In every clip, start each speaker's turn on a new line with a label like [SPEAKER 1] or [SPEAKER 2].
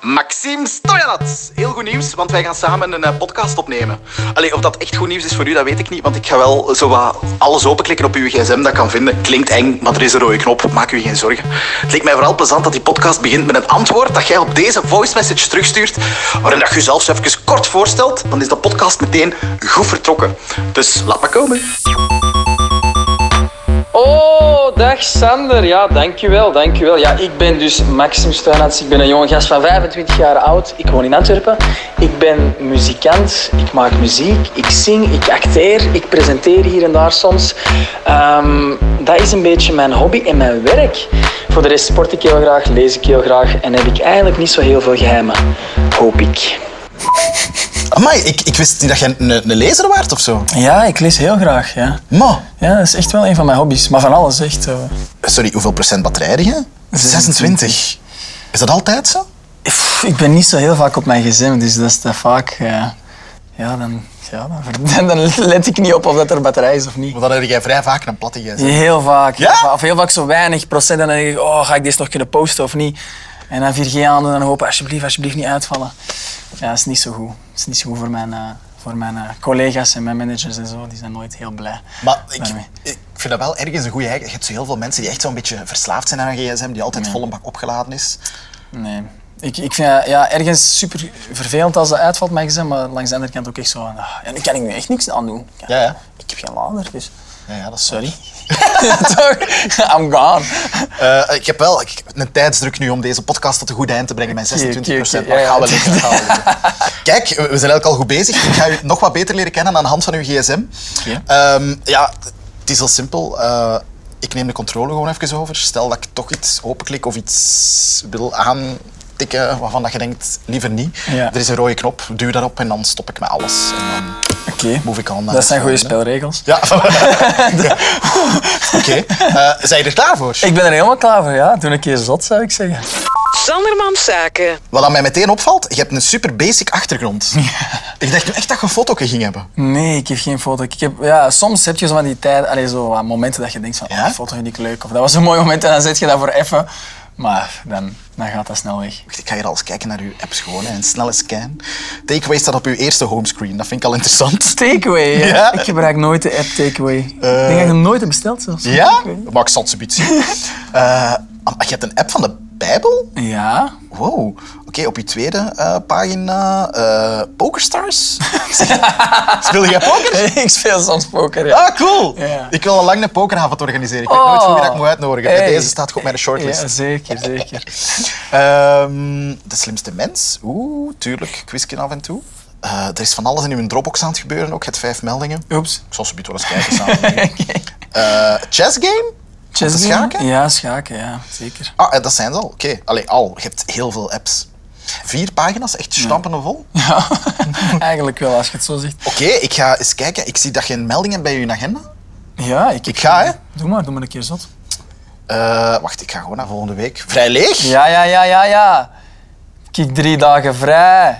[SPEAKER 1] Maxime Stojanat. Heel goed nieuws, want wij gaan samen een eh, podcast opnemen. Allee, of dat echt goed nieuws is voor u, dat weet ik niet. Want ik ga wel zo wat alles openklikken op uw gsm dat ik kan vinden. Klinkt eng, maar er is een rode knop. Maak u geen zorgen. Het leek mij vooral plezant dat die podcast begint met een antwoord dat jij op deze voice message terugstuurt. Waarin dat je jezelf zo even kort voorstelt. Dan is de podcast meteen goed vertrokken. Dus laat maar komen.
[SPEAKER 2] Oh, dag Sander. Ja, dankjewel, dankjewel. Ja, ik ben dus Maxim Stuinats. Ik ben een jonge gast van 25 jaar oud. Ik woon in Antwerpen. Ik ben muzikant. Ik maak muziek. Ik zing. Ik acteer. Ik presenteer hier en daar soms. Ehm, dat is een beetje mijn hobby en mijn werk. Voor de rest sport ik heel graag, lees ik heel graag en heb ik eigenlijk niet zo heel veel geheimen. Hoop ik.
[SPEAKER 1] Amai, ik, ik wist niet dat jij een, een lezer waart of zo.
[SPEAKER 2] Ja, ik lees heel graag, ja.
[SPEAKER 1] Ma,
[SPEAKER 2] Ja, dat is echt wel een van mijn hobby's. Maar van alles, echt. eh.
[SPEAKER 1] sorry, hoeveel procent batterij heb je? 26. Is dat altijd zo?
[SPEAKER 2] Pff, Ik ben niet zo heel vaak op mijn gezin, dus dat is dat vaak. eh, ja, dan, ja dan, ver- dan let ik niet op of dat er batterij is of niet.
[SPEAKER 1] Want dan heb jij vrij vaak een platte gsm.
[SPEAKER 2] Heel vaak.
[SPEAKER 1] Ja?
[SPEAKER 2] heel va- Of heel vaak zo weinig procent. Dan denk ik, oh, ga ik deze nog kunnen posten of niet? En dan 4G aan doen en hopen, alsjeblieft, alsjeblieft niet uitvallen. Ja, dat is niet zo goed. Dat is niet zo goed voor mijn, eh, voor mijn eh, collega's en mijn managers en zo. Die zijn nooit heel blij.
[SPEAKER 1] Maar ik,
[SPEAKER 2] daarmee.
[SPEAKER 1] ik vind dat wel ergens een goede eigen. Je hebt zo heel veel mensen die echt zo'n beetje verslaafd zijn aan een gsm, die altijd vol een bak opgeladen is.
[SPEAKER 2] Nee. Ik, ik vind het ja, ergens super vervelend als dat uitvalt, mijn gezin, maar langs de andere kant ook echt zo. van, ah, ja, nu kan ik nu echt niks aan doen. Ja,
[SPEAKER 1] Ja, ja.
[SPEAKER 2] Ik heb geen lader, dus.
[SPEAKER 1] Ja, ja dat is
[SPEAKER 2] Sorry. Toch? I'm gone.
[SPEAKER 1] Eh, ik heb wel ik- een tijdsdruk nu om deze podcast tot een goed eind te brengen. Mijn 26 procent.
[SPEAKER 2] Oké, oké,
[SPEAKER 1] gaan we
[SPEAKER 2] ja, ja.
[SPEAKER 1] lukken, dat gaan we lukken. Kijk, we we zijn eigenlijk al goed bezig. Ik ga u nog wat beter leren kennen aan de hand van uw gsm.
[SPEAKER 2] Oké.
[SPEAKER 1] Ehm, ja, het is heel simpel. Eh, ik neem de controle gewoon even over. Stel dat ik toch iets openklik of iets wil aantikken waarvan dat je denkt, liever niet.
[SPEAKER 2] Ja.
[SPEAKER 1] Er is een rode knop, duw daarop en dan stop ik met alles. En dan
[SPEAKER 2] Oké.
[SPEAKER 1] move ik on. naar
[SPEAKER 2] Dat
[SPEAKER 1] het
[SPEAKER 2] zijn goede
[SPEAKER 1] volgende.
[SPEAKER 2] spelregels.
[SPEAKER 1] Ja. Oké. Eh, zijn je er klaar voor?
[SPEAKER 2] Ik ben er helemaal klaar voor, ja. Doe een keer zot, zou ik zeggen.
[SPEAKER 3] Sandermans Zaken.
[SPEAKER 1] Wat aan mij meteen opvalt, je hebt een super basic achtergrond. Ik dacht nu echt dat je een foto ging hebben.
[SPEAKER 2] Nee, ik heb geen foto. Ik heb, ja, soms heb je zo van die tijd, allee, zo wat momenten dat je denkt van,
[SPEAKER 1] Ja?
[SPEAKER 2] oh, die foto vind ik leuk. Of dat was een mooi moment en dan zet je dat voor even. Maar dan, dan gaat dat snel weg.
[SPEAKER 1] Wacht, Ik ga hier al eens kijken naar uw apps gewoon hè. een snelle scan. Takeaway staat op uw eerste homescreen, dat vind ik al interessant.
[SPEAKER 2] Takeaway. Ja.
[SPEAKER 1] Ja. Eh.
[SPEAKER 2] Ik gebruik nooit de app Takeaway. Ik denk dat ik hem nooit heb besteld zelfs.
[SPEAKER 1] Ja?
[SPEAKER 2] Takeaway.
[SPEAKER 1] Maar ik zal het zo zien. Eh, am- je hebt een app van de Bijbel?
[SPEAKER 2] Ja.
[SPEAKER 1] Wow. Oké, op je tweede eh, pagina. eh, Pokerstars? Speel jij poker?
[SPEAKER 2] ik speel soms poker, ja.
[SPEAKER 1] Ah, cool.
[SPEAKER 2] Ja. Oh.
[SPEAKER 1] Ik wil al lang een pokeravond organiseren. Ik weet nooit hoe je dat ik moet uitnodigen. Bij
[SPEAKER 2] Hey.
[SPEAKER 1] deze staat goed op mijn shortlist.
[SPEAKER 2] Ja, zeker, zeker.
[SPEAKER 1] Ehm, de slimste mens? Oeh, tuurlijk, quizje af en toe. Eh, er is van alles in uw Dropbox aan het gebeuren ook. Het vijf meldingen.
[SPEAKER 2] Oeps.
[SPEAKER 1] Ik zal ze wel eens kijken samen. Eh, chess game?
[SPEAKER 2] Chess
[SPEAKER 1] Om te
[SPEAKER 2] doen?
[SPEAKER 1] schaken?
[SPEAKER 2] Ja, schaken, ja, zeker.
[SPEAKER 1] Ah, eh, dat zijn ze al. Oké. Allee, al. Je hebt heel veel apps. Vier pagina's, echt stampen vol.
[SPEAKER 2] Ja, eigenlijk wel, als je het zo zegt.
[SPEAKER 1] Oké, ik ga eens kijken. Ik zie dat je een melding hebt bij je agenda.
[SPEAKER 2] Ja, ik,
[SPEAKER 1] Ik ga, hè.
[SPEAKER 2] Doe maar, doe maar een keer zot.
[SPEAKER 1] Eh, wacht, ik ga gewoon naar volgende week. Vrij leeg?
[SPEAKER 2] Ja, ja, ja, ja, ja. Kijk, drie dagen vrij.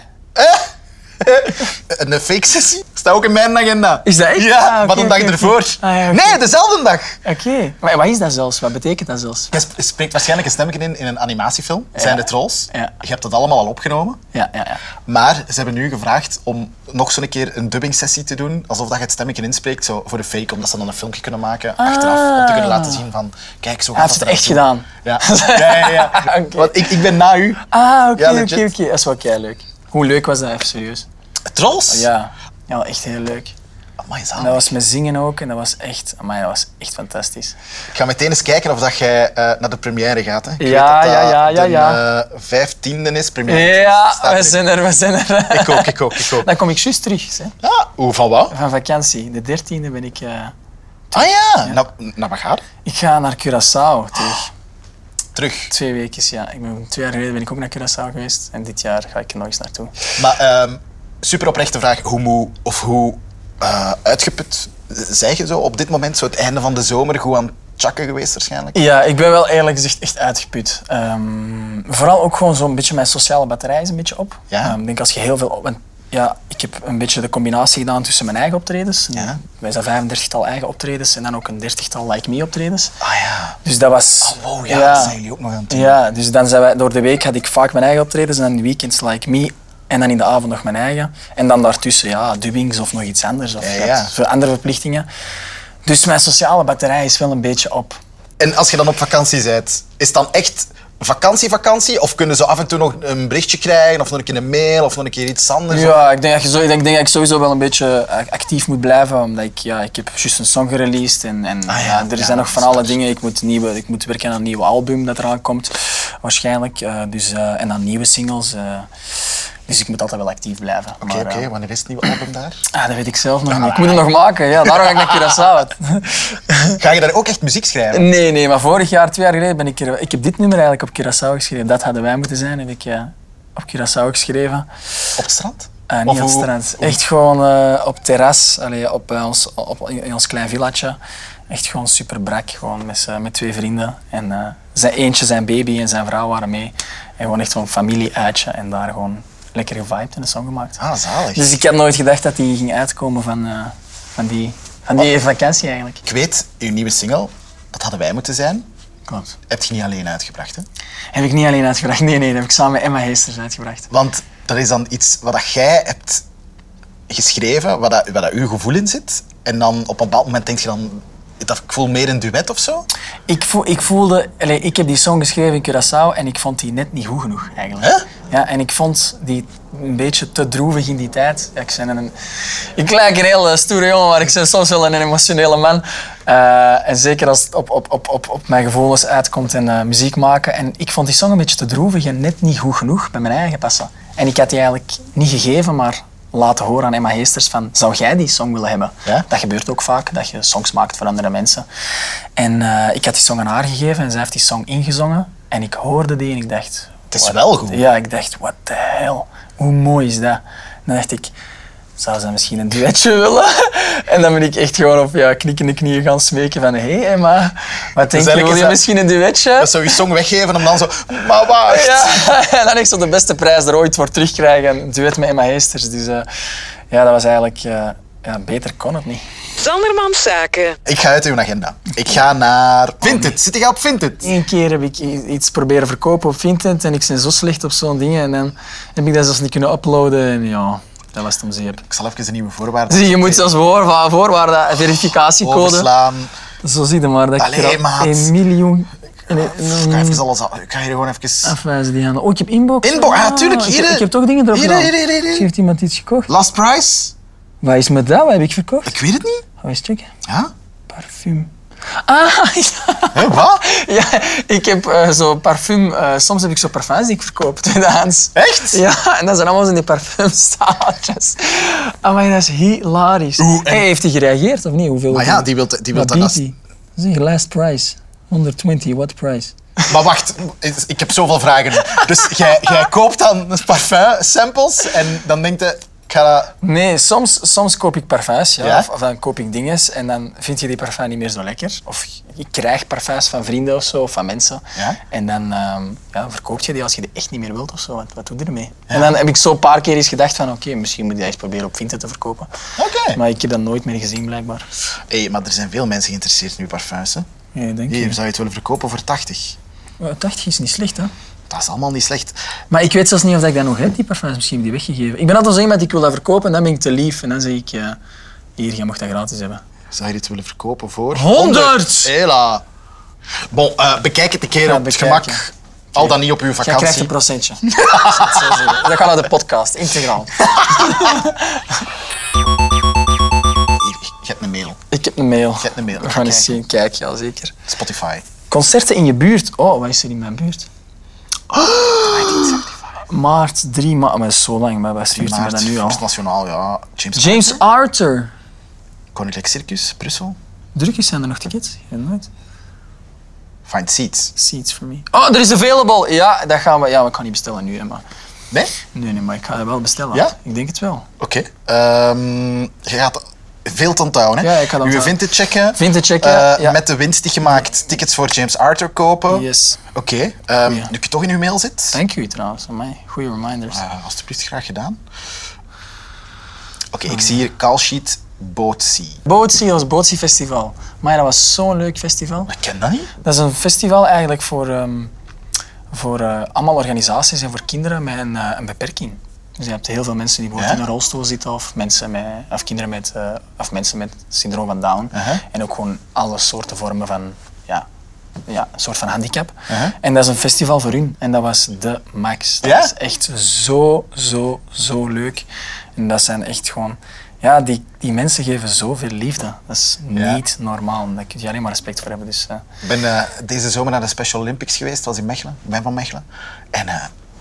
[SPEAKER 1] Een fake sessie? Staat ook in mijn agenda.
[SPEAKER 2] Is dat echt?
[SPEAKER 1] Ja,
[SPEAKER 2] Ah, oké,
[SPEAKER 1] maar een dag
[SPEAKER 2] oké, oké.
[SPEAKER 1] ervoor.
[SPEAKER 2] Ah, ja, oké.
[SPEAKER 1] Nee, dezelfde dag.
[SPEAKER 2] Oké. Maar wat is dat zelfs? Wat betekent dat zelfs?
[SPEAKER 1] Je sp- spreekt waarschijnlijk een stemmetje in in een animatiefilm. Het zijn de trolls.
[SPEAKER 2] Ja.
[SPEAKER 1] Je hebt dat allemaal al opgenomen.
[SPEAKER 2] Ja, ja, ja.
[SPEAKER 1] Maar ze hebben nu gevraagd om nog zo'n keer een dubbing sessie te doen. Alsof dat je het stemmetje inspreekt zo voor de fake. Omdat ze dan een filmpje kunnen maken achteraf. Om te kunnen laten zien van... Kijk, zo gaat
[SPEAKER 2] Ah. Hij heeft het echt
[SPEAKER 1] eraan
[SPEAKER 2] gedaan.
[SPEAKER 1] toe. Ja, ja, ja. ja.
[SPEAKER 2] Oké.
[SPEAKER 1] Want ik, ik ben na u.
[SPEAKER 2] Ah, oké,
[SPEAKER 1] Ja,
[SPEAKER 2] oké,
[SPEAKER 1] legit.
[SPEAKER 2] oké. Dat is wel kei leuk. Hoe leuk was dat even serieus?
[SPEAKER 1] Trolls?
[SPEAKER 2] Ja. Nou. Ja, wel echt heel leuk.
[SPEAKER 1] Amai,
[SPEAKER 2] En
[SPEAKER 1] zalig.
[SPEAKER 2] dat was met zingen ook en dat was echt, amai, dat was echt fantastisch.
[SPEAKER 1] Ik ga meteen eens kijken of dat jij eh, naar de première gaat. Hè. Ik
[SPEAKER 2] Ja,
[SPEAKER 1] weet dat dat
[SPEAKER 2] ja, ja, ja,
[SPEAKER 1] de,
[SPEAKER 2] ja.
[SPEAKER 1] eh, vijftiende is, première.
[SPEAKER 2] Ja,
[SPEAKER 1] Staat
[SPEAKER 2] we
[SPEAKER 1] erin.
[SPEAKER 2] zijn er, we zijn er.
[SPEAKER 1] Ik ook, ik ook, ik ook.
[SPEAKER 2] Dan kom ik juist terug, hè.
[SPEAKER 1] Ah, hoe, van wat?
[SPEAKER 2] Van vakantie, de 13e ben ik. eh,
[SPEAKER 1] Ah ja, Nou, nou, wat gaat?
[SPEAKER 2] ik ga naar Curaçao terug.
[SPEAKER 1] Terug.
[SPEAKER 2] Twee weken, ja. Ik ben, twee jaar geleden ben ik ook naar Curaçao geweest. En dit jaar ga ik er nog eens naartoe.
[SPEAKER 1] Maar ehm, super oprechte vraag, hoe moe of hoe eh, uitgeput zijn je zo op dit moment? Zo het einde van de zomer, goed aan het chakken geweest waarschijnlijk.
[SPEAKER 2] Ja, ik ben wel eerlijk gezegd echt uitgeput. Ehm, vooral ook gewoon zo'n beetje mijn sociale batterij is een beetje op.
[SPEAKER 1] Ja.
[SPEAKER 2] Ehm, ik denk als je heel veel op. Want ja, ik heb een beetje de combinatie gedaan tussen mijn eigen optredens.
[SPEAKER 1] Ja.
[SPEAKER 2] Wij zijn 35 tal eigen optredens en dan ook een 30 tal Like Me optredens.
[SPEAKER 1] Ah ja.
[SPEAKER 2] Dus dat was...
[SPEAKER 1] Oh, wow, ja, dat zijn jullie ook nog aan het doen.
[SPEAKER 2] Ja, dus dan zijn wij, door de week had ik vaak mijn eigen optredens en dan in de weekends Like Me. En dan in de avond nog mijn eigen. En dan daartussen, ja, dubbings of nog iets anders. Of
[SPEAKER 1] Ja, ja.
[SPEAKER 2] dat- voor andere verplichtingen. Dus mijn sociale batterij is wel een beetje op.
[SPEAKER 1] En als je dan op vakantie bent, is het dan echt vakantie-vakantie? Of kunnen ze af en toe nog een berichtje krijgen, of nog een keer een mail, of nog een keer iets anders?
[SPEAKER 2] Ja, ik denk, dat je zo, ik, denk, ik denk dat ik sowieso wel een beetje eh, actief moet blijven. Omdat ik, ja, ik heb juist een song gereleased. En, en
[SPEAKER 1] Ah, ja,
[SPEAKER 2] ja, er
[SPEAKER 1] ja,
[SPEAKER 2] zijn nog
[SPEAKER 1] dat
[SPEAKER 2] van
[SPEAKER 1] is
[SPEAKER 2] alle
[SPEAKER 1] waar.
[SPEAKER 2] dingen. Ik moet, nieuwe, ik moet werken aan een nieuw album dat eraan komt. Waarschijnlijk. eh, dus, eh, en aan nieuwe singles. eh. dus ik moet altijd wel actief blijven.
[SPEAKER 1] Oké,
[SPEAKER 2] Maar,
[SPEAKER 1] oké.
[SPEAKER 2] eh,
[SPEAKER 1] Wanneer is het nieuwe album daar?
[SPEAKER 2] ah, dat weet ik zelf nog niet. Ik moet het nog maken. Ja, daarom ga ik naar Curaçao.
[SPEAKER 1] Ga je daar ook echt muziek schrijven?
[SPEAKER 2] nee, nee, maar vorig jaar, twee jaar geleden, ben ik er, Ik heb dit nummer eigenlijk op Curaçao geschreven. Dat hadden wij moeten zijn, heb ik eh, op Curaçao geschreven.
[SPEAKER 1] Op het strand?
[SPEAKER 2] Eh,
[SPEAKER 1] Of
[SPEAKER 2] niet aan het
[SPEAKER 1] hoe-
[SPEAKER 2] strand. Echt gewoon eh, op terras, allee, op, eh, ons, op, in in ons klein village. Echt gewoon super brak, gewoon met, z'n- met twee vrienden. En eh, zijn eentje, zijn baby en zijn vrouw waren mee. En gewoon echt zo'n familieuitje en daar gewoon lekker gevibed en een song gemaakt.
[SPEAKER 1] Ah, zalig.
[SPEAKER 2] Dus ik had nooit gedacht dat die ging uitkomen van, eh, van die, van die vakantie eigenlijk.
[SPEAKER 1] Ik weet, uw nieuwe single, dat hadden wij moeten zijn,
[SPEAKER 2] Klopt.
[SPEAKER 1] heb je niet alleen uitgebracht. Hè?
[SPEAKER 2] Heb ik niet alleen uitgebracht. Nee, nee, dat heb ik samen met Emma Heesters uitgebracht.
[SPEAKER 1] Want dat is dan iets wat dat jij hebt geschreven, wat dat, wat dat uw gevoel in zit. En dan op een bepaald moment denk je dan, dat, ik voel meer een duet of zo.
[SPEAKER 2] Ik, voel, ik voelde, allee, ik heb die song geschreven in Curaçao en ik vond die net niet goed genoeg eigenlijk.
[SPEAKER 1] Hè?
[SPEAKER 2] Ja, en ik vond die een beetje te droevig in die tijd. Ja, ik, ben een, ik lijk een heel eh, stoere jongen, maar ik ben soms wel een emotionele man. Eh, en zeker als het op, op, op, op, op mijn gevoelens uitkomt en eh, muziek maken. En ik vond die song een beetje te droevig en net niet goed genoeg bij mijn eigen passen. En ik had die eigenlijk niet gegeven, maar laten horen aan Emma Heesters van zou jij die song willen hebben?
[SPEAKER 1] Ja.
[SPEAKER 2] Dat gebeurt ook vaak, dat je songs maakt voor andere mensen. En eh, ik had die song aan haar gegeven en zij heeft die song ingezongen. En ik hoorde die en ik dacht...
[SPEAKER 1] Het is
[SPEAKER 2] what-
[SPEAKER 1] wel goed.
[SPEAKER 2] Ja, ik dacht, what the hell? Hoe mooi is dat? Dan dacht ik, zou ze misschien een duetje willen? en dan ben ik echt gewoon op ja, knikkende knieën gaan smeken van... Hé hey Emma, wat denk je,
[SPEAKER 1] Dus eigenlijk
[SPEAKER 2] wil
[SPEAKER 1] is
[SPEAKER 2] je
[SPEAKER 1] dat-
[SPEAKER 2] misschien een duetje?
[SPEAKER 1] Dat zou je song weggeven en dan zo, maar wacht.
[SPEAKER 2] Ja, en dan echt zo de beste prijs er ooit voor terugkrijgen. Een duet met Emma Heesters. Dus eh, ja, dat was eigenlijk... eh, ja, beter kon het niet.
[SPEAKER 3] Zandermans Zaken.
[SPEAKER 1] Ik ga uit uw agenda. Ik ga naar Vinted. Zit jij op Vinted?
[SPEAKER 2] Eén keer heb ik i- iets proberen verkopen op Vinted en ik ben zo slecht op zo'n dingen. En dan heb ik dat zelfs niet kunnen uploaden. En ja, dat was het om zeep.
[SPEAKER 1] Ik zal even de nieuwe voorwaarden
[SPEAKER 2] Zie, je moet zelfs voorwa- voorwaarden, verificatiecode.
[SPEAKER 1] overslaan.
[SPEAKER 2] Zo zie je maar dat ik
[SPEAKER 1] Allee,
[SPEAKER 2] er al
[SPEAKER 1] maat.
[SPEAKER 2] een miljoen... en
[SPEAKER 1] Pff, Ik ga, even alles af- ik ga hier gewoon even...
[SPEAKER 2] Afwijzen die handen. Oh, ik heb inbox.
[SPEAKER 1] Inbox, ah, tuurlijk,
[SPEAKER 2] ik heb-
[SPEAKER 1] hier,
[SPEAKER 2] Ik, heb toch dingen erop
[SPEAKER 1] hier,
[SPEAKER 2] gedaan.
[SPEAKER 1] hier, hier, hier, hier.
[SPEAKER 2] Dus Heeft iemand iets gekocht?
[SPEAKER 1] Last price?
[SPEAKER 2] Wat is met dat? Wat heb ik verkocht?
[SPEAKER 1] Ik weet het niet.
[SPEAKER 2] Ga eens checken.
[SPEAKER 1] Ja?
[SPEAKER 2] Parfum. Ah, ja.
[SPEAKER 1] Hè, wat?
[SPEAKER 2] Ja, ik heb eh, zo parfum... eh, soms heb ik zo parfums die ik verkoop, tweedehands.
[SPEAKER 1] Echt?
[SPEAKER 2] Ja, en dat zijn allemaal zo in die parfumstaaltjes. Amai, dat is hilarisch.
[SPEAKER 1] Oeh, en-
[SPEAKER 2] Hey, heeft hij gereageerd of niet? Hoeveel
[SPEAKER 1] Maar Ah ja, die wil die wil
[SPEAKER 2] Wat
[SPEAKER 1] dat...
[SPEAKER 2] biedt
[SPEAKER 1] als-
[SPEAKER 2] die? Zeg, last price. 120, what price?
[SPEAKER 1] Maar wacht, ik heb zoveel vragen. nu. Dus jij, jij koopt dan parfum samples en dan denkt je, ik ga dat...
[SPEAKER 2] Nee, soms, soms koop ik parfums, ja.
[SPEAKER 1] Ja?
[SPEAKER 2] Of, of dan koop ik dinges en dan vind je die parfum niet meer zo lekker. Of ik krijg parfums van vrienden of zo, of van mensen.
[SPEAKER 1] Ja?
[SPEAKER 2] En dan ehm, ja, verkoop je die als je die echt niet meer wilt of zo. Wat, wat doe je ermee? En dan heb ik zo een paar keer eens gedacht van, oké, misschien moet ik dat eens proberen op Vinted te verkopen.
[SPEAKER 1] Oké.
[SPEAKER 2] Maar ik heb dat nooit meer gezien, blijkbaar.
[SPEAKER 1] Hé, maar er zijn veel mensen geïnteresseerd in uw parfums. Hè?
[SPEAKER 2] Nee, denk
[SPEAKER 1] Hier,
[SPEAKER 2] je.
[SPEAKER 1] zou je het willen verkopen voor 80?
[SPEAKER 2] Maar 80 is niet slecht, hè?
[SPEAKER 1] Dat is allemaal niet slecht.
[SPEAKER 2] Maar ik weet zelfs niet of ik dat nog heb, die parfums. Misschien heb ik die weggegeven. Ik ben altijd zo iemand, ik wil dat verkopen en dan ben ik te lief. En dan zeg ik, eh, hier, jij mag dat gratis hebben.
[SPEAKER 1] Zou je dit willen verkopen voor...
[SPEAKER 2] 100?
[SPEAKER 1] Eh, Hela. Bon, eh, bekijk het een keer
[SPEAKER 2] Ga
[SPEAKER 1] op het
[SPEAKER 2] bekijken.
[SPEAKER 1] gemak. Al dan niet op uw
[SPEAKER 2] Jij krijgt
[SPEAKER 1] vakantie.
[SPEAKER 2] een procentje. Ik zal het zo zeggen. dat gaat naar de podcast, integraal.
[SPEAKER 1] Hier, Je hebt een mail.
[SPEAKER 2] Ik heb een mail.
[SPEAKER 1] hebt een mail.
[SPEAKER 2] We gaan eens
[SPEAKER 1] Kijken.
[SPEAKER 2] zien. Kijk, ja, zeker.
[SPEAKER 1] Spotify.
[SPEAKER 2] Concerten in je buurt. Oh, wat is er in mijn buurt?
[SPEAKER 1] Oh!
[SPEAKER 2] Maart 3 maart. Maar dat is zo lang, maar wat stuurt hij me
[SPEAKER 1] Maart,
[SPEAKER 2] dat nu al?
[SPEAKER 1] First Nationaal, ja. James,
[SPEAKER 2] James Arthur.
[SPEAKER 1] Koninklijk Circus, Brussel.
[SPEAKER 2] Drukjes zijn er nog tickets? Ik weet het nooit.
[SPEAKER 1] Find seats.
[SPEAKER 2] Seats for me. Oh, er is available. Ja, dat gaan we. Ja, we gaan niet bestellen nu, hè, maar.
[SPEAKER 1] Nee?
[SPEAKER 2] Nee, nee, maar ik ga het wel bestellen.
[SPEAKER 1] Ja?
[SPEAKER 2] Ik denk het wel.
[SPEAKER 1] Oké. Ehm, je gaat veel te onthouden. Hè?
[SPEAKER 2] Ja, ik ga het
[SPEAKER 1] Uw
[SPEAKER 2] onthouden.
[SPEAKER 1] vintage checken.
[SPEAKER 2] Vintage checken,
[SPEAKER 1] eh,
[SPEAKER 2] ja.
[SPEAKER 1] Met de winst die je maakt, tickets voor James Arthur kopen.
[SPEAKER 2] Yes.
[SPEAKER 1] Oké. ehm,
[SPEAKER 2] Ja.
[SPEAKER 1] Nu ik toch in uw mail zit.
[SPEAKER 2] Thank you trouwens, aan mij. Goeie reminders.
[SPEAKER 1] Eh, alsjeblieft, graag gedaan. ik zie hier Kaalsheet Bootsie.
[SPEAKER 2] Bootsie, dat was Bootsie Festival. Maar dat was zo'n leuk festival.
[SPEAKER 1] Ik ken dat niet.
[SPEAKER 2] Dat is een festival eigenlijk voor, ehm, voor eh, allemaal organisaties en voor kinderen met een, eh, een beperking. Dus je hebt heel veel mensen die bijvoorbeeld
[SPEAKER 1] Ja?
[SPEAKER 2] in een rolstoel zitten of, mensen met, of kinderen met, eh, of mensen met syndroom van Down.
[SPEAKER 1] Uh-huh.
[SPEAKER 2] En ook gewoon alle soorten vormen van, ja, ja een soort van handicap.
[SPEAKER 1] Uh-huh.
[SPEAKER 2] En dat is een festival voor hun. En dat was de max. Dat
[SPEAKER 1] Ja?
[SPEAKER 2] was echt zo, zo, zo leuk. En dat zijn echt gewoon... Ja, die, die mensen geven zoveel liefde. Dat is
[SPEAKER 1] Ja.
[SPEAKER 2] niet normaal. Daar kun je alleen maar respect voor hebben. Dus, eh,
[SPEAKER 1] Ik ben eh, deze zomer naar de Special Olympics geweest, was in Mechelen. Ik ben van Mechelen. En eh,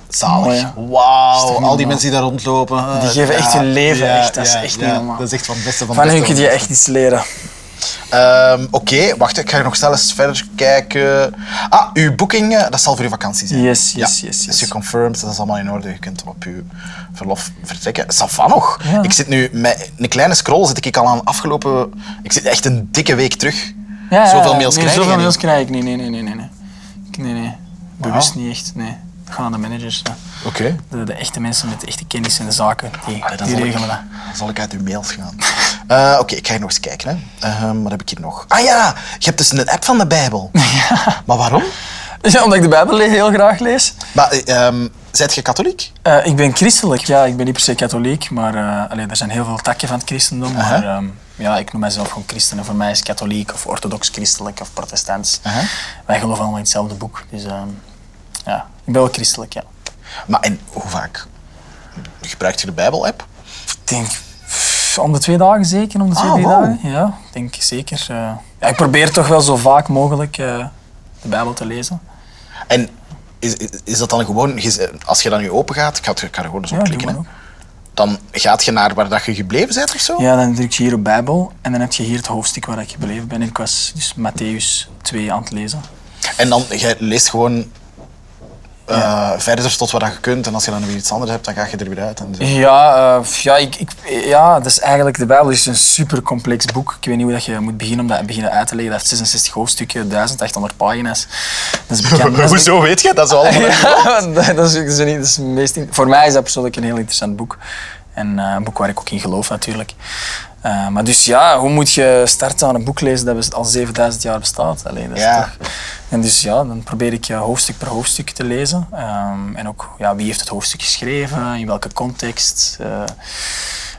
[SPEAKER 1] zalig.
[SPEAKER 2] Mooi, hè? Is toch
[SPEAKER 1] Wauw,
[SPEAKER 2] niet
[SPEAKER 1] al die
[SPEAKER 2] normaal?
[SPEAKER 1] mensen die daar rondlopen. eh,
[SPEAKER 2] Die geven echt
[SPEAKER 1] ja,
[SPEAKER 2] hun leven,
[SPEAKER 1] ja,
[SPEAKER 2] echt. Dat is
[SPEAKER 1] ja,
[SPEAKER 2] echt
[SPEAKER 1] ja.
[SPEAKER 2] niet normaal.
[SPEAKER 1] Dat is echt van het beste van het
[SPEAKER 2] Van
[SPEAKER 1] beste.
[SPEAKER 2] hun kun
[SPEAKER 1] van
[SPEAKER 2] je
[SPEAKER 1] het
[SPEAKER 2] echt iets leren.
[SPEAKER 1] Ehm, Oké, wacht, ik ga nog snel eens verder kijken. Ah, uw boeking, eh, dat zal voor uw vakantie zijn.
[SPEAKER 2] Yes, yes, yes,
[SPEAKER 1] Is
[SPEAKER 2] yes.
[SPEAKER 1] geconfirmed, dat is allemaal in orde. Je kunt op uw verlof vertrekken. Safa nog.
[SPEAKER 2] Ja.
[SPEAKER 1] Ik zit nu met een kleine scroll, zit ik al aan afgelopen. Ik zit echt een dikke week terug.
[SPEAKER 2] Ja, ja,
[SPEAKER 1] Zoveel
[SPEAKER 2] ja.
[SPEAKER 1] mails
[SPEAKER 2] nee,
[SPEAKER 1] krijg je
[SPEAKER 2] Zoveel
[SPEAKER 1] niet.
[SPEAKER 2] mails krijg ik niet. Nee, nee, nee, nee. Nee, nee. nee. Bewust niet echt. Nee. Dat gaan aan de managers. ja.
[SPEAKER 1] Oké.
[SPEAKER 2] De, de echte mensen met de echte kennis en de zaken, die,
[SPEAKER 1] Allee, dan,
[SPEAKER 2] die
[SPEAKER 1] zal ik,
[SPEAKER 2] regelen Ah, dat.
[SPEAKER 1] dan zal ik uit uw mails gaan. Eh, Oké, ik ga hier nog eens kijken. Hè. Ehm, wat heb ik hier nog? Ah ja, je hebt dus een app van de Bijbel. Maar waarom?
[SPEAKER 2] Ja, omdat ik de Bijbel le- heel graag lees.
[SPEAKER 1] Maar, eh, ehm, zijt je katholiek?
[SPEAKER 2] Eh, ik ben christelijk, ja. Ik ben niet per se katholiek, maar eh, allee, er zijn heel veel takken van het christendom. Maar
[SPEAKER 1] Aha.
[SPEAKER 2] ehm, ja, ik noem mijzelf gewoon christen. En voor mij is katholiek of orthodox christelijk of protestants.
[SPEAKER 1] Aha.
[SPEAKER 2] Wij geloven allemaal in hetzelfde boek. Dus ehm, ja, ik ben wel christelijk, ja.
[SPEAKER 1] Maar en hoe vaak? Gebruikt je de Bijbel-app?
[SPEAKER 2] Ik denk pff, om de twee dagen zeker, om de twee
[SPEAKER 1] Ah,
[SPEAKER 2] drie
[SPEAKER 1] wow.
[SPEAKER 2] dagen. Ja, ik denk zeker. eh. ja, ik probeer toch wel zo vaak mogelijk eh, de Bijbel te lezen.
[SPEAKER 1] En is, is, is dat dan gewoon, gez- als je dan nu open gaat, ik ga, het- ik ga er gewoon eens
[SPEAKER 2] Ja,
[SPEAKER 1] op
[SPEAKER 2] doe
[SPEAKER 1] klikken,
[SPEAKER 2] maar
[SPEAKER 1] hè.
[SPEAKER 2] ook.
[SPEAKER 1] dan gaat je naar waar dat je gebleven bent of zo?
[SPEAKER 2] Ja, dan druk je hier op Bijbel en dan heb je hier het hoofdstuk waar ik gebleven ben. En ik was dus Matthäus 2 aan het lezen.
[SPEAKER 1] En dan je leest gewoon eh, verder tot waar dat je kunt. En als je dan weer iets anders hebt, dan ga je er weer uit. En zo.
[SPEAKER 2] Ja, eh, f- ja, ik, ik, ja, dat is eigenlijk, de Bijbel is een super complex boek. Ik weet niet hoe dat je moet beginnen om dat beginnen uit te leggen. Dat heeft 66 hoofdstukken, 1800 pagina's. Dat is bekend. dat is bekend.
[SPEAKER 1] Hoezo weet je dat? is allemaal...
[SPEAKER 2] Ja, dat is, dat is niet, dat is het meest in- voor mij is dat persoonlijk een heel interessant boek. En eh, een boek waar ik ook in geloof natuurlijk. Eh, maar dus ja, hoe moet je starten aan een boek lezen dat bes- al 7000 jaar bestaat? Allee, dat is
[SPEAKER 1] Ja.
[SPEAKER 2] toch... En dus ja, dan probeer ik eh, hoofdstuk per hoofdstuk te lezen. Ehm, en ook ja, wie heeft het hoofdstuk geschreven, in welke context, eh,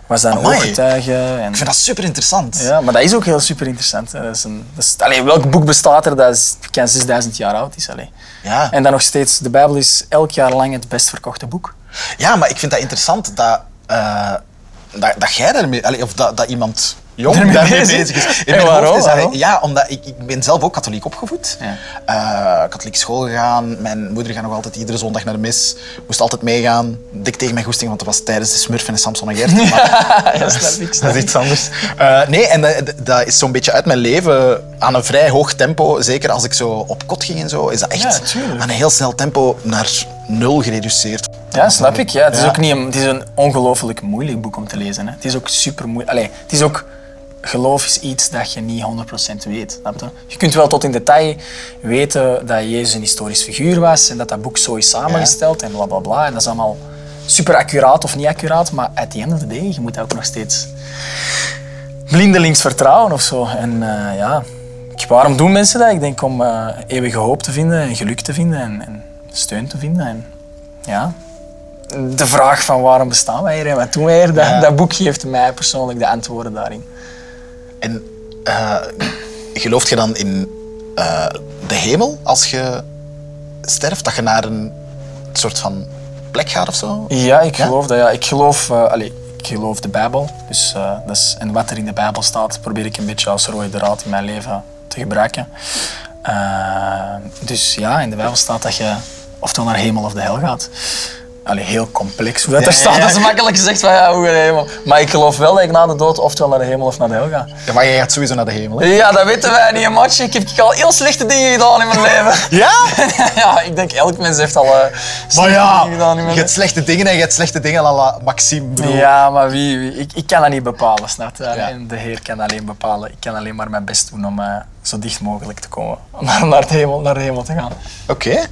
[SPEAKER 2] was dat een
[SPEAKER 1] Amai.
[SPEAKER 2] ooggetuige. En...
[SPEAKER 1] Ik vind dat super interessant.
[SPEAKER 2] Ja, maar dat is ook heel super interessant. Dat is een, dat is, allee, welk boek bestaat er dat is, bekend 6000 jaar oud is? Allee.
[SPEAKER 1] Ja.
[SPEAKER 2] En dan nog steeds, de Bijbel is elk jaar lang het best verkochte boek.
[SPEAKER 1] Ja, maar ik vind dat interessant dat, eh, dat, dat jij daarmee, allee, of dat, dat iemand jong
[SPEAKER 2] Daarmee
[SPEAKER 1] daarmee bezig,
[SPEAKER 2] bezig
[SPEAKER 1] is.
[SPEAKER 2] is.
[SPEAKER 1] In
[SPEAKER 2] En
[SPEAKER 1] mijn
[SPEAKER 2] waarom?
[SPEAKER 1] hoofd is dat-
[SPEAKER 2] Waarom?
[SPEAKER 1] ja, omdat ik, ik ben zelf ook katholiek opgevoed.
[SPEAKER 2] Ja.
[SPEAKER 1] Eh, katholiek school gegaan. Mijn moeder gaat nog altijd iedere zondag naar de mis. Moest altijd meegaan. Dik tegen mijn goesting, want dat was tijdens de Smurfen en Samson en Gert. Maar,
[SPEAKER 2] Ja, snap ik, snap
[SPEAKER 1] dat is
[SPEAKER 2] ik.
[SPEAKER 1] iets anders. Eh, nee, en dat, dat- dat is zo'n beetje uit mijn leven aan een vrij hoog tempo. Zeker als ik zo op kot ging en zo, is dat
[SPEAKER 2] Ja,
[SPEAKER 1] echt
[SPEAKER 2] tuurlijk.
[SPEAKER 1] aan een heel snel tempo naar nul gereduceerd.
[SPEAKER 2] Ja, snap ik. Ja. Het is
[SPEAKER 1] Ja.
[SPEAKER 2] ook niet een, het is een ongelooflijk moeilijk boek om te lezen. Hè. Het is ook super moeilijk. Allee, het is ook geloof is iets dat je niet 100% weet. Snap je? je kunt wel tot in detail weten dat Jezus een historisch figuur was en dat dat boek zo is samengesteld en bla bla bla. En dat is allemaal super accuraat of niet accuraat, maar at the end of the day, je moet dat ook nog steeds blindelings vertrouwen of zo. En eh, ja, ik- waarom doen mensen dat? Ik denk om eh, eeuwige hoop te vinden en geluk te vinden en, en steun te vinden. En, ja. De vraag van waarom bestaan wij hier en wat doen wij hier, dat,
[SPEAKER 1] Ja.
[SPEAKER 2] dat boek geeft mij persoonlijk de antwoorden daarin.
[SPEAKER 1] En eh, gelooft je dan in eh, de hemel als je sterft? Dat je naar een soort van plek gaat of zo?
[SPEAKER 2] Ja, ik geloof dat. Ja. Ik, geloof, eh, allee, ik geloof de Bijbel. Dus, eh, dat is, en wat er in de Bijbel staat, probeer ik een beetje als rode draad in mijn leven te gebruiken. Eh, dus ja, in de Bijbel staat dat je oftewel naar hemel of de hel gaat. Allee, heel complex hoe dat er
[SPEAKER 1] ja,
[SPEAKER 2] staat.
[SPEAKER 1] ja.
[SPEAKER 2] Dat is makkelijk gezegd van ja, hoe naar de hemel. Maar ik geloof wel dat ik na de dood oftewel naar de hemel of naar de hel ga.
[SPEAKER 1] Ja, maar jij gaat sowieso naar de hemel. hè?
[SPEAKER 2] Ja, dat weten wij niet, matje. Ik heb al heel slechte dingen gedaan in mijn leven.
[SPEAKER 1] Ja?
[SPEAKER 2] ja, ik denk elk mens heeft al eh, slechte
[SPEAKER 1] Maar ja,
[SPEAKER 2] dingen gedaan in
[SPEAKER 1] je
[SPEAKER 2] mijn
[SPEAKER 1] hebt
[SPEAKER 2] leven.
[SPEAKER 1] slechte dingen en je hebt slechte dingen à la Maxime. Bro.
[SPEAKER 2] Ja, maar wie, wie- Ik, ik kan dat niet bepalen, snap je?
[SPEAKER 1] Ja.
[SPEAKER 2] En de Heer kan alleen bepalen. Ik kan alleen maar mijn best doen om eh, zo dicht mogelijk te komen. Om naar, naar, de hemel, naar de hemel te gaan.
[SPEAKER 1] Oké.
[SPEAKER 4] eh,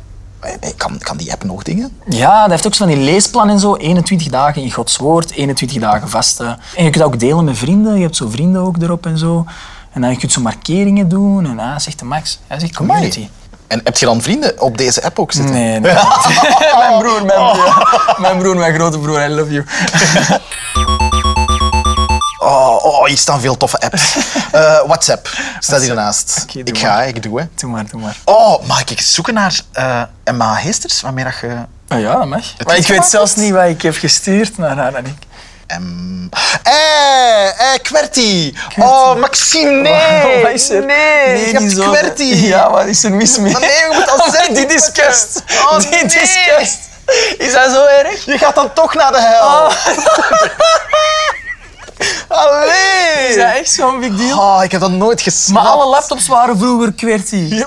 [SPEAKER 4] Kan, kan die app nog dingen?
[SPEAKER 2] Ja, dat heeft ook zo van die leesplan en zo. 21 dagen in Gods woord, 21 dagen vasten. En je kunt dat ook delen met vrienden. Je hebt zo vrienden ook erop en zo. En dan kun je zo markeringen doen. En ah, zegt de Max. Hij zegt community.
[SPEAKER 4] Amai. En heb je dan vrienden op deze app ook zitten?
[SPEAKER 2] Nee, nee. mijn broer, mijn broer. Mijn broer, mijn grote broer. I love you.
[SPEAKER 4] Oh, oh, hier staan veel toffe apps. Eh, WhatsApp staat hiernaast.
[SPEAKER 2] Oké, doe
[SPEAKER 4] ik ga, ik doe hè.
[SPEAKER 2] Doe maar, doe maar.
[SPEAKER 4] Oh, mag ik eens zoeken naar eh, Emma Heesters? Waarmee dat je...
[SPEAKER 2] Ah ja, dat mag. Maar
[SPEAKER 4] is
[SPEAKER 2] ik weet
[SPEAKER 4] gemakkelijk.
[SPEAKER 2] zelfs niet wat ik heb gestuurd naar haar en ik.
[SPEAKER 4] Em, Eh, eh, Qwerty. Oh, Maxime, nee.
[SPEAKER 2] Wat is er?
[SPEAKER 4] Nee, je hebt
[SPEAKER 2] niet zo.
[SPEAKER 4] QWERTY.
[SPEAKER 2] Ja, wat is er mis mee?
[SPEAKER 4] Maar nee, je moet al zeggen.
[SPEAKER 2] Die disgust.
[SPEAKER 4] Oh,
[SPEAKER 2] Die
[SPEAKER 4] nee.
[SPEAKER 2] disgust. Is dat zo erg?
[SPEAKER 4] Je gaat dan toch naar de hel.
[SPEAKER 2] Oh.
[SPEAKER 4] Allee.
[SPEAKER 2] Is dat echt zo'n big deal?
[SPEAKER 4] Oh, ik heb dat nooit gesnapt.
[SPEAKER 2] Maar alle laptops waren vroeger QWERTY.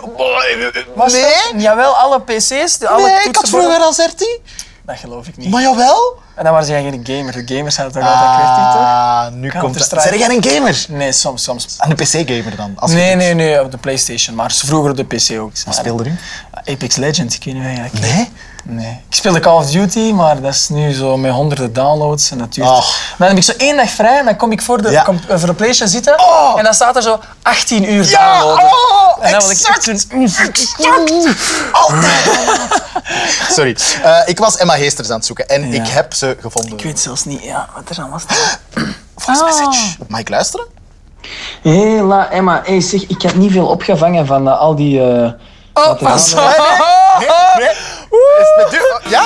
[SPEAKER 2] Was
[SPEAKER 4] nee?
[SPEAKER 2] dat- Jawel, alle PC's. de- Alle
[SPEAKER 4] nee, ik had
[SPEAKER 2] toetsenborden.
[SPEAKER 4] vroeger al QWERTY.
[SPEAKER 2] Dat geloof ik niet.
[SPEAKER 4] Maar Ah. jawel.
[SPEAKER 2] En dan waren ze geen gamer. De gamers hadden toch altijd QWERTY, toch?
[SPEAKER 4] Ah, nu komt het.
[SPEAKER 2] Counter-Strike.
[SPEAKER 4] Zijn jij een gamer?
[SPEAKER 2] Nee, soms, soms.
[SPEAKER 4] Een PC-gamer dan? Als je
[SPEAKER 2] Nee,
[SPEAKER 4] doet.
[SPEAKER 2] nee, nee, op de PlayStation, maar vroeger op de PC ook. "Ah,
[SPEAKER 4] Wat speelde u?
[SPEAKER 2] Apex Legends, ik weet niet eigenlijk.
[SPEAKER 4] Nee?
[SPEAKER 2] Nee. Ik speelde Call of Duty, maar dat is nu zo met honderden downloads en natuurlijk.
[SPEAKER 4] Ach.
[SPEAKER 2] Dan heb ik zo één dag vrij en dan kom ik voor de,
[SPEAKER 4] Oh. Ja.
[SPEAKER 2] com- eh, voor de PlayStation zitten
[SPEAKER 4] Oh.
[SPEAKER 2] en dan staat er zo 18 uur
[SPEAKER 4] Ja!
[SPEAKER 2] downloaden.
[SPEAKER 4] Oh,
[SPEAKER 2] en dan wil ik echt
[SPEAKER 4] exact.
[SPEAKER 2] doen,
[SPEAKER 4] Altijd. Sorry. Eh, ik was Emma Heesters aan het zoeken en
[SPEAKER 2] Ja.
[SPEAKER 4] ik heb ze gevonden.
[SPEAKER 2] Ik weet zelfs niet ja, wat er aan was.
[SPEAKER 4] Voice
[SPEAKER 2] Ah.
[SPEAKER 4] message. Mag ik luisteren?
[SPEAKER 5] Hela Emma, hey, zeg, ik heb niet veel opgevangen van eh, al die...
[SPEAKER 2] Oh,
[SPEAKER 5] eh, wat er
[SPEAKER 2] pas
[SPEAKER 5] aan-
[SPEAKER 2] op.
[SPEAKER 4] Nee, nee. Is het met u? Ja?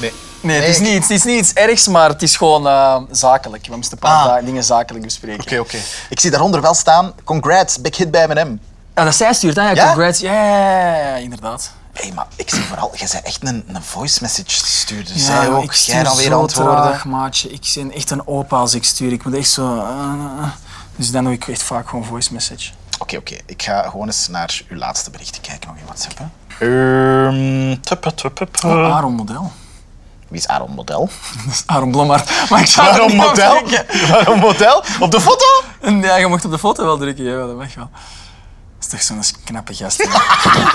[SPEAKER 4] Nee.
[SPEAKER 2] Nee, het is,
[SPEAKER 4] Nee, ik-
[SPEAKER 2] niets, het is niets ergs, maar het is gewoon eh, zakelijk. We moesten een paar
[SPEAKER 4] Ah.
[SPEAKER 2] da- dingen zakelijk bespreken.
[SPEAKER 4] Oké, oké. Ik zie daaronder wel staan, congrats, big hit bij M&M.
[SPEAKER 2] Ja, dat zij stuurt, hè? Ja,
[SPEAKER 4] Ja?
[SPEAKER 2] congrats. Ja, ja, ja, ja, ja, inderdaad.
[SPEAKER 4] Hé, hey, maar ik zie vooral, jij bent echt een, een voice message stuurder.
[SPEAKER 2] Ja,
[SPEAKER 4] Zij
[SPEAKER 2] joh,
[SPEAKER 4] ook, jij dan weer
[SPEAKER 2] zo
[SPEAKER 4] antwoorden.
[SPEAKER 2] traag, maatje. Ik ben echt een opa als ik stuur. Ik moet echt zo... eh, eh, eh. dus dan doe ik echt vaak gewoon voice message.
[SPEAKER 4] Oké, oké. Ik ga gewoon eens naar uw laatste berichten kijken nog in WhatsApp. Hè. Ehm, tuppe, tuppe, tuppe.
[SPEAKER 2] Oh, Aaron Model.
[SPEAKER 4] Wie is Aaron Model?
[SPEAKER 2] Dat is Aaron Blommaert. Maar ik zou er
[SPEAKER 4] Waarom
[SPEAKER 2] niet op
[SPEAKER 4] model?
[SPEAKER 2] drukken.
[SPEAKER 4] Waarom model? Op de foto?
[SPEAKER 2] Ja, je mocht op de foto wel drukken. Ja, dat mag wel. Dat is toch zo'n knappe gast. hè?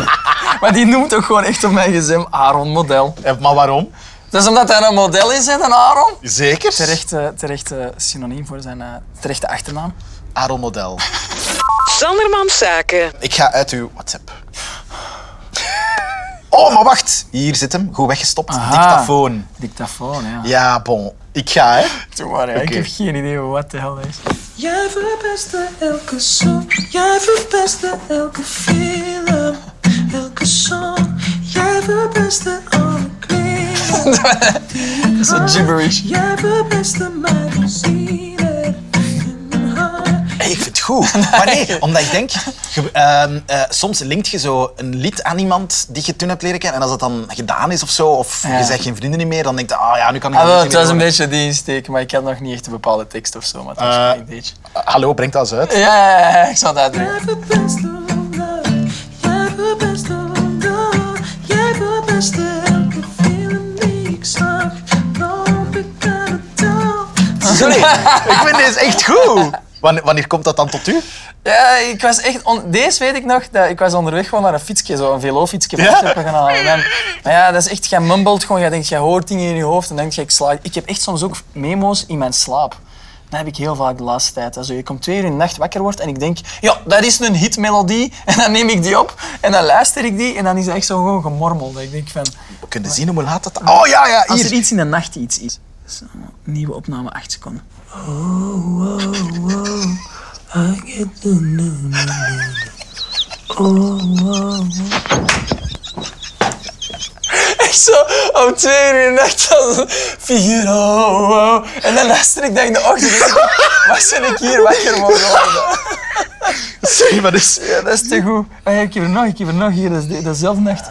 [SPEAKER 2] maar die noemt ook gewoon echt op mijn gezin Aaron Model.
[SPEAKER 4] Eh, Maar waarom?
[SPEAKER 2] Dat is omdat hij een model is, hè, een Aaron.
[SPEAKER 4] Zeker.
[SPEAKER 2] Terecht, eh, terecht eh, synoniem voor zijn eh, terechte achternaam.
[SPEAKER 4] Aaron Model.
[SPEAKER 3] Sanderman Zaken.
[SPEAKER 4] Ik ga uit uw WhatsApp. Oh, maar wacht. Hier zit hem. Goed weggestopt.
[SPEAKER 2] Aha.
[SPEAKER 4] Dictafoon.
[SPEAKER 2] Dictafoon, ja.
[SPEAKER 4] Ja, bon. Ik ga, hè.
[SPEAKER 2] Doe maar, hè. ik
[SPEAKER 4] Oké.
[SPEAKER 2] heb geen idee wat de hel dat is.
[SPEAKER 6] Jij verpestte elke song, jij verpestte elke film, elke song. Jij verpestte alle kleren.
[SPEAKER 2] Dat is een gibberish.
[SPEAKER 6] Jij verpestte mijn zielen in mijn hart.
[SPEAKER 4] Hey, ik vind het goed. Maar nee, omdat ik denk... ge- ehm, eh, soms linkt je zo een lied aan iemand die je toen hebt leren kennen. En als dat dan gedaan is of zo, of
[SPEAKER 2] Ja.
[SPEAKER 4] je zegt geen vrienden niet meer, dan denk je, ah ja, nu kan ik
[SPEAKER 2] Ah,
[SPEAKER 4] dat
[SPEAKER 2] wel,
[SPEAKER 4] lied
[SPEAKER 2] het
[SPEAKER 4] niet
[SPEAKER 2] was een
[SPEAKER 4] meer
[SPEAKER 2] beetje die insteek, maar ik had nog niet echt een bepaalde tekst of zo. Maar het was
[SPEAKER 4] Eh.
[SPEAKER 2] een beetje.
[SPEAKER 4] horen. Hallo, breng dat eens uit.
[SPEAKER 2] Ja, ja, ja, ja, ik zal dat doen.
[SPEAKER 6] Jij verpestte love, jij verpestte love. Jij verpestte elke film die ik zag. Loop ik aan het touw.
[SPEAKER 4] Sorry, ik vind deze echt goed. Wanneer, wanneer komt dat dan tot u?
[SPEAKER 2] Ja, ik was echt. On... Deze weet ik nog, dat ik was onderweg gewoon naar een fietsje, zo een velofietsje van ja? gaan halen. En dan- maar ja, dat is echt, jij mumbled gewoon, jij denkt, jij hoort dingen in je hoofd en denkt, jij, ik sla. Ik heb echt soms ook memo's in mijn slaap. Dat heb ik heel vaak de laatste tijd. Also, je komt twee uur in de nacht wakker wordt en ik denk, ja, dat is een hitmelodie. En dan neem ik die op en dan luister ik die en dan is dat echt zo gewoon gemormel. Dat ik denk van,
[SPEAKER 4] We kunnen zien hoe laat het... Oh ja, ja,
[SPEAKER 2] Als er
[SPEAKER 4] hier.
[SPEAKER 2] iets in de nacht iets is. Zo, Nieuwe opname, 8 seconden. Echt zo, om twee uur in de nacht als figure, oh, oh. En dan luister ik dat in de ochtend. Ik denk, Wat ben ik hier wakker mogen worden?
[SPEAKER 4] Sorry, maar dus...
[SPEAKER 2] Ja, dat is te goed. Ah ja, ik heb er nog, ik heb er nog hier, dat is de- dezelfde nacht.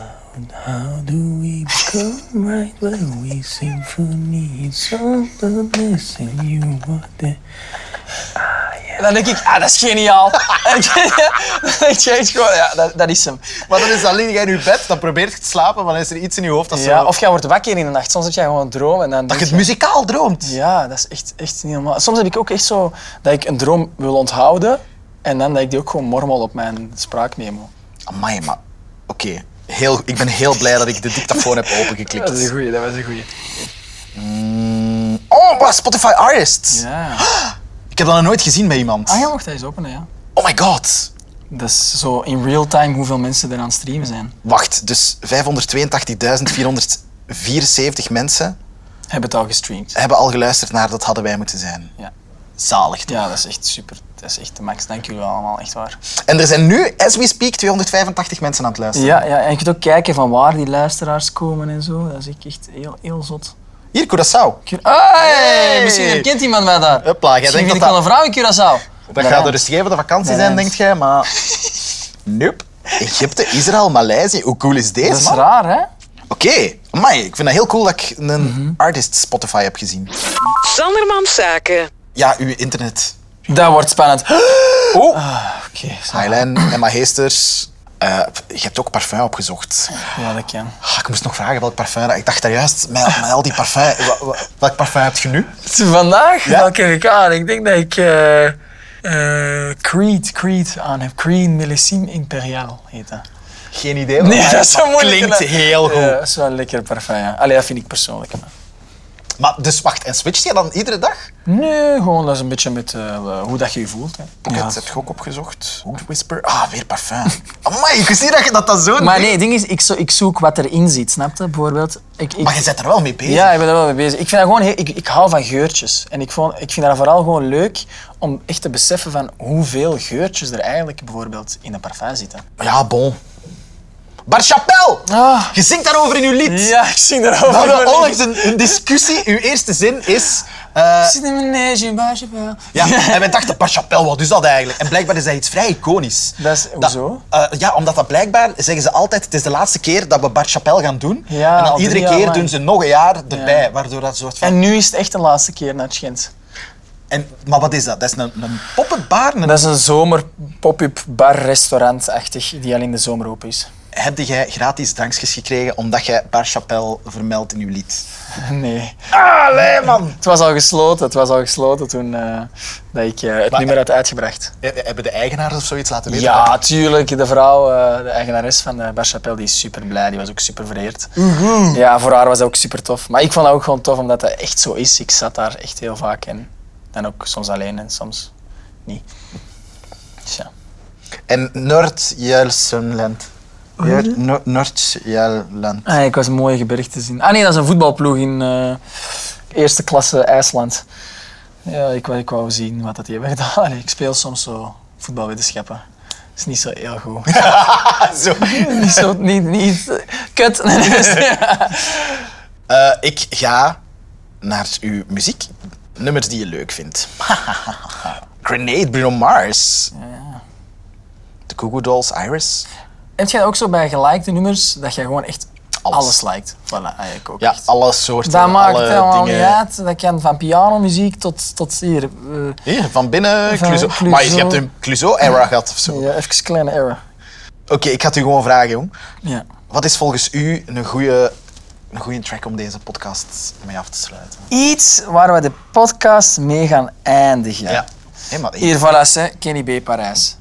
[SPEAKER 6] How do we become right when we symphony is all the blessing you Ah, want it?
[SPEAKER 2] En dan denk ik, ah, dat is geniaal. En dan denk je echt gewoon, ja, dat, dat is hem.
[SPEAKER 4] Maar dan is dat lig jij in je bed, dan probeert je te slapen, maar dan is er iets in je hoofd dat,
[SPEAKER 2] Ja,
[SPEAKER 4] zo,
[SPEAKER 2] of jij wordt wakker in de nacht. Soms heb jij gewoon een droom en dan
[SPEAKER 4] dat je
[SPEAKER 2] denk
[SPEAKER 4] het muzikaal droomt.
[SPEAKER 2] Ja, dat is echt, echt niet normaal. Soms heb ik ook echt zo dat ik een droom wil onthouden en dan dat ik die ook gewoon mormel op mijn spraakmemo.
[SPEAKER 4] Amai, maar oké. heel, ik ben heel blij dat ik de dictafoon heb opengeklikt.
[SPEAKER 2] Dat was een goeie, dat was een goeie.
[SPEAKER 4] Oh, wow, Spotify Artists.
[SPEAKER 2] Ja.
[SPEAKER 4] Ik heb dat nog nooit gezien met iemand.
[SPEAKER 2] Ah, je mocht dat eens openen, ja.
[SPEAKER 4] Oh my god.
[SPEAKER 2] Dat is zo in real time hoeveel mensen er aan het streamen zijn.
[SPEAKER 4] Wacht, dus 582.474 mensen
[SPEAKER 2] Hebben het al gestreamd.
[SPEAKER 4] hebben al geluisterd naar Dat hadden wij moeten zijn.
[SPEAKER 2] Ja.
[SPEAKER 4] Zalig. toch?
[SPEAKER 2] Ja, dat is echt super. Dat is echt de max. Dank jullie wel allemaal, echt waar.
[SPEAKER 4] En er zijn nu, as we speak, 285 mensen aan het luisteren.
[SPEAKER 2] Ja, ja, en je kunt ook kijken van waar die luisteraars komen en zo. Dat is ik echt heel, heel zot.
[SPEAKER 4] Hier, Curaçao.
[SPEAKER 2] Cura- Hey,
[SPEAKER 4] Hey!
[SPEAKER 2] Misschien herkent iemand mij daar.
[SPEAKER 4] Hopla, jij
[SPEAKER 2] Misschien vind
[SPEAKER 4] denkt dat
[SPEAKER 2] ik wel een vrouw in Curaçao.
[SPEAKER 4] Dat gaat door de scheve de vakantie
[SPEAKER 2] Nee,
[SPEAKER 4] zijn,
[SPEAKER 2] nee.
[SPEAKER 4] denkt jij, maar... Nope. Egypte, Israël, Maleisië, hoe cool is deze,
[SPEAKER 2] Dat is
[SPEAKER 4] man?
[SPEAKER 2] raar, hè?
[SPEAKER 4] Oké, amai, ik vind dat heel cool dat ik een
[SPEAKER 2] Mhm.
[SPEAKER 4] artist Spotify heb gezien.
[SPEAKER 3] Sandermans Zaken.
[SPEAKER 4] Ja, uw internet.
[SPEAKER 2] Dat wordt spannend.
[SPEAKER 4] Oh.
[SPEAKER 2] Oké, zo.
[SPEAKER 4] Highline, Emma Heesters. Eh, je hebt ook parfum opgezocht.
[SPEAKER 2] ja, dat kan.
[SPEAKER 4] Ah, ik moest nog vragen welk parfum. dat- Ik dacht daar juist, met, met al die parfum. wa- wa- welk parfum heb je nu?
[SPEAKER 2] Vandaag? Welke heb ik aan? Ik denk dat ik eh, eh, Creed, Creed aan heb. Creed Millesime Imperial heet dat.
[SPEAKER 4] Geen idee.
[SPEAKER 2] Nee,
[SPEAKER 4] maar
[SPEAKER 2] Oh, dat is zo
[SPEAKER 4] het
[SPEAKER 2] moeilijk.
[SPEAKER 4] Klinkt
[SPEAKER 2] hè?
[SPEAKER 4] heel goed.
[SPEAKER 2] Ja, dat is wel een lekker parfum, ja. Allee, dat vind ik persoonlijk. maar.
[SPEAKER 4] Maar dus wacht, en switcht je dan iedere dag?
[SPEAKER 2] Nee, gewoon dat is een beetje met eh, hoe dat je je voelt. Hè.
[SPEAKER 4] Pocket heb je ook opgezocht. Wood Whisper. Ah, weer parfum. Amai, ik wist niet dat je dat, dat zo
[SPEAKER 2] Maar
[SPEAKER 4] deed.
[SPEAKER 2] nee, het ding is, ik, zo, ik zoek wat erin zit, snap je? Bijvoorbeeld, ik, ik,
[SPEAKER 4] Maar je bent er wel mee bezig.
[SPEAKER 2] Ja, ik ben er wel mee bezig. Ik, vind dat gewoon heel- ik, ik hou van geurtjes. En ik, vond, ik vind dat vooral gewoon leuk om echt te beseffen van hoeveel geurtjes er eigenlijk bijvoorbeeld in een parfum zitten.
[SPEAKER 4] Ja, bon. Bar Chapelle!
[SPEAKER 2] Ah.
[SPEAKER 4] Je zingt daarover in uw lied.
[SPEAKER 2] Ja, ik zie
[SPEAKER 4] We
[SPEAKER 2] erover.
[SPEAKER 4] hadden onlangs een, een discussie. Uw eerste zin is... eh,
[SPEAKER 2] zit in mijn neus, in baasje wel.
[SPEAKER 4] ja, en wij dachten, Bar Chapelle, wat is dat eigenlijk? En blijkbaar is dat iets vrij iconisch.
[SPEAKER 2] Dat is- hoezo?
[SPEAKER 4] eh, ja, omdat dat blijkbaar, zeggen ze altijd, het is de laatste keer dat we Bar Chapelle gaan doen.
[SPEAKER 2] Ja,
[SPEAKER 4] en dan
[SPEAKER 2] al
[SPEAKER 4] iedere
[SPEAKER 2] drie jaar
[SPEAKER 4] keer
[SPEAKER 2] lang.
[SPEAKER 4] doen ze nog een jaar erbij.
[SPEAKER 2] Ja.
[SPEAKER 4] Waardoor dat soort van...
[SPEAKER 2] En nu is het echt de laatste keer naar het Gent.
[SPEAKER 4] En, maar wat is dat? Dat is een, een poppenbar? Een
[SPEAKER 2] Dat is een zomer pop-up bar restaurant-achtig die alleen de zomer open is.
[SPEAKER 4] Heb jij gratis drankjes gekregen omdat jij Bar Chapelle vermeldt in uw lied?
[SPEAKER 2] Nee.
[SPEAKER 4] Allee, man!
[SPEAKER 2] Het was al gesloten, het was al gesloten toen eh, dat ik eh, het nummer had uitgebracht.
[SPEAKER 4] Eh, Hebben de eigenaars of zoiets laten weten?
[SPEAKER 2] Ja, tuurlijk. De vrouw, eh, de eigenares van de Bar Chapelle, die is super blij. Die was ook super vereerd. Ja, voor haar was dat ook super tof. Maar ik vond dat ook gewoon tof, omdat dat echt zo is. Ik zat daar echt heel vaak in. En ook soms alleen en soms niet. Dus ja.
[SPEAKER 4] En Noord-Jelsenland. Noord-Jelsenland.
[SPEAKER 2] Ah, ik was een mooie gebergte zien. Ah nee, dat is een voetbalploeg in eh, eerste klasse IJsland. Ja, ik, wou- ik wou zien wat dat die hebben gedaan. Allee, ik speel soms zo voetbalwetenschappen. Dat is niet zo heel goed.
[SPEAKER 4] Zo.
[SPEAKER 2] niet zo, niet, niet, kut. Nee, nee, dat is-
[SPEAKER 4] Eh, ik ga naar uw muziek. Nummers die je leuk vindt. Grenade, Bruno Mars. De Goo Goo Dolls, Iris.
[SPEAKER 2] Heb jij ook zo bij gelikte nummers dat jij gewoon echt
[SPEAKER 4] Alles.
[SPEAKER 2] alles, liked? Voilà, eigenlijk ook
[SPEAKER 4] Ja,
[SPEAKER 2] echt.
[SPEAKER 4] alle soorten,
[SPEAKER 2] Dat maakt
[SPEAKER 4] alle
[SPEAKER 2] helemaal
[SPEAKER 4] dingen.
[SPEAKER 2] niet uit. Dat kan van pianomuziek tot, tot hier. eh,
[SPEAKER 4] Hier, van binnen,
[SPEAKER 2] Van
[SPEAKER 4] Cluzo.
[SPEAKER 2] Clouseau.
[SPEAKER 4] Maar je hebt een Cluzo-era gehad of zo.
[SPEAKER 2] ja, even een kleine error.
[SPEAKER 4] Oké, ik ga het u gewoon vragen, jong.
[SPEAKER 2] Ja.
[SPEAKER 4] Wat is volgens u een goede een goeie track om deze podcast mee af te sluiten?
[SPEAKER 2] Iets waar we de podcast mee gaan eindigen.
[SPEAKER 4] Hé, maar,
[SPEAKER 2] Hier, voilà, ze, Kenny B. Parijs.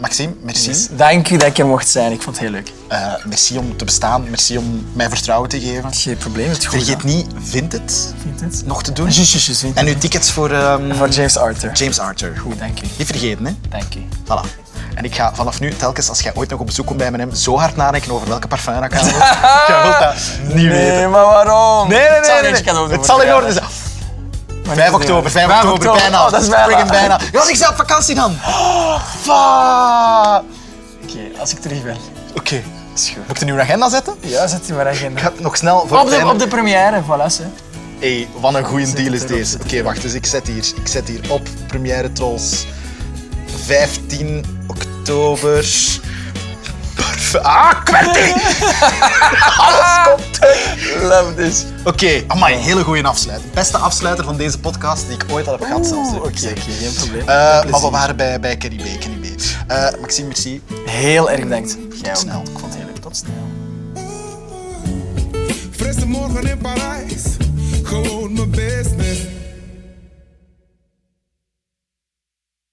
[SPEAKER 4] Maxime, merci.
[SPEAKER 2] Dus dank u dat ik er mocht zijn. Ik vond het heel leuk.
[SPEAKER 4] Eh, merci om te bestaan. Merci om mij vertrouwen te geven.
[SPEAKER 2] Geen probleem, het is goed.
[SPEAKER 4] Vergeet niet, vind het
[SPEAKER 2] niet het.
[SPEAKER 4] nog te doen.
[SPEAKER 2] Juist, juist, juist, vind
[SPEAKER 4] En uw tickets voor ehm,
[SPEAKER 2] Voor James Arthur.
[SPEAKER 4] James Arthur.
[SPEAKER 2] Goed, dank u.
[SPEAKER 4] Niet vergeten, hè?
[SPEAKER 2] Dank u.
[SPEAKER 4] Voilà. En ik ga vanaf nu, telkens als jij ooit nog op bezoek komt bij M&M, zo hard nadenken over welke parfum dat ik aan wil. Jij wilt dat niet weten.
[SPEAKER 2] Nee, maar waarom?
[SPEAKER 4] Nee, nee, nee.
[SPEAKER 2] Het zal
[SPEAKER 4] nee,
[SPEAKER 2] een
[SPEAKER 4] nee.
[SPEAKER 2] cadeau doen
[SPEAKER 4] Het
[SPEAKER 2] voor
[SPEAKER 4] zal in
[SPEAKER 2] jou.
[SPEAKER 4] orde zijn.
[SPEAKER 2] Maar
[SPEAKER 4] 5
[SPEAKER 2] niet te doen.
[SPEAKER 4] oktober, 5
[SPEAKER 2] 5
[SPEAKER 4] oktober, bijna.
[SPEAKER 2] Oh, dat is Oh, bijna.
[SPEAKER 4] Friggin' bijna. Ja, als ik zelf op vakantie dan. Fuck.
[SPEAKER 2] Oké, als ik terug ben.
[SPEAKER 4] Oké. Moet ik het in uw agenda zetten?
[SPEAKER 2] Ja, zet die maar
[SPEAKER 4] Ik
[SPEAKER 2] agenda.
[SPEAKER 4] ga het nog snel voor
[SPEAKER 2] Op
[SPEAKER 4] het
[SPEAKER 2] de,
[SPEAKER 4] einde-
[SPEAKER 2] op de première, voilà. Ze.
[SPEAKER 4] Hey, wat een goede deal is
[SPEAKER 2] het erop,
[SPEAKER 4] deze.
[SPEAKER 2] zet
[SPEAKER 4] Oké,
[SPEAKER 2] het
[SPEAKER 4] wacht. Dus ik zet hier. Ik zet hier op. Première Trolls. 15 oktober. Parfum. Ah, kwerting! Alles komt terug.
[SPEAKER 2] Love this.
[SPEAKER 4] Oké, amai, hele goede afsluiter. Beste afsluiter van deze podcast die ik ooit al heb gehad. zelfs, durf ik te zeggen.
[SPEAKER 2] geen probleem.
[SPEAKER 4] Eh, maar we waren bij, bij Kenny B. Kenny B. Eh, Maxime, merci.
[SPEAKER 2] Heel erg bedankt. Jij ook.
[SPEAKER 4] snel.
[SPEAKER 2] Ik vond het heel leuk. Tot snel.
[SPEAKER 7] Frisse morgen in Parijs, gewoon mijn business.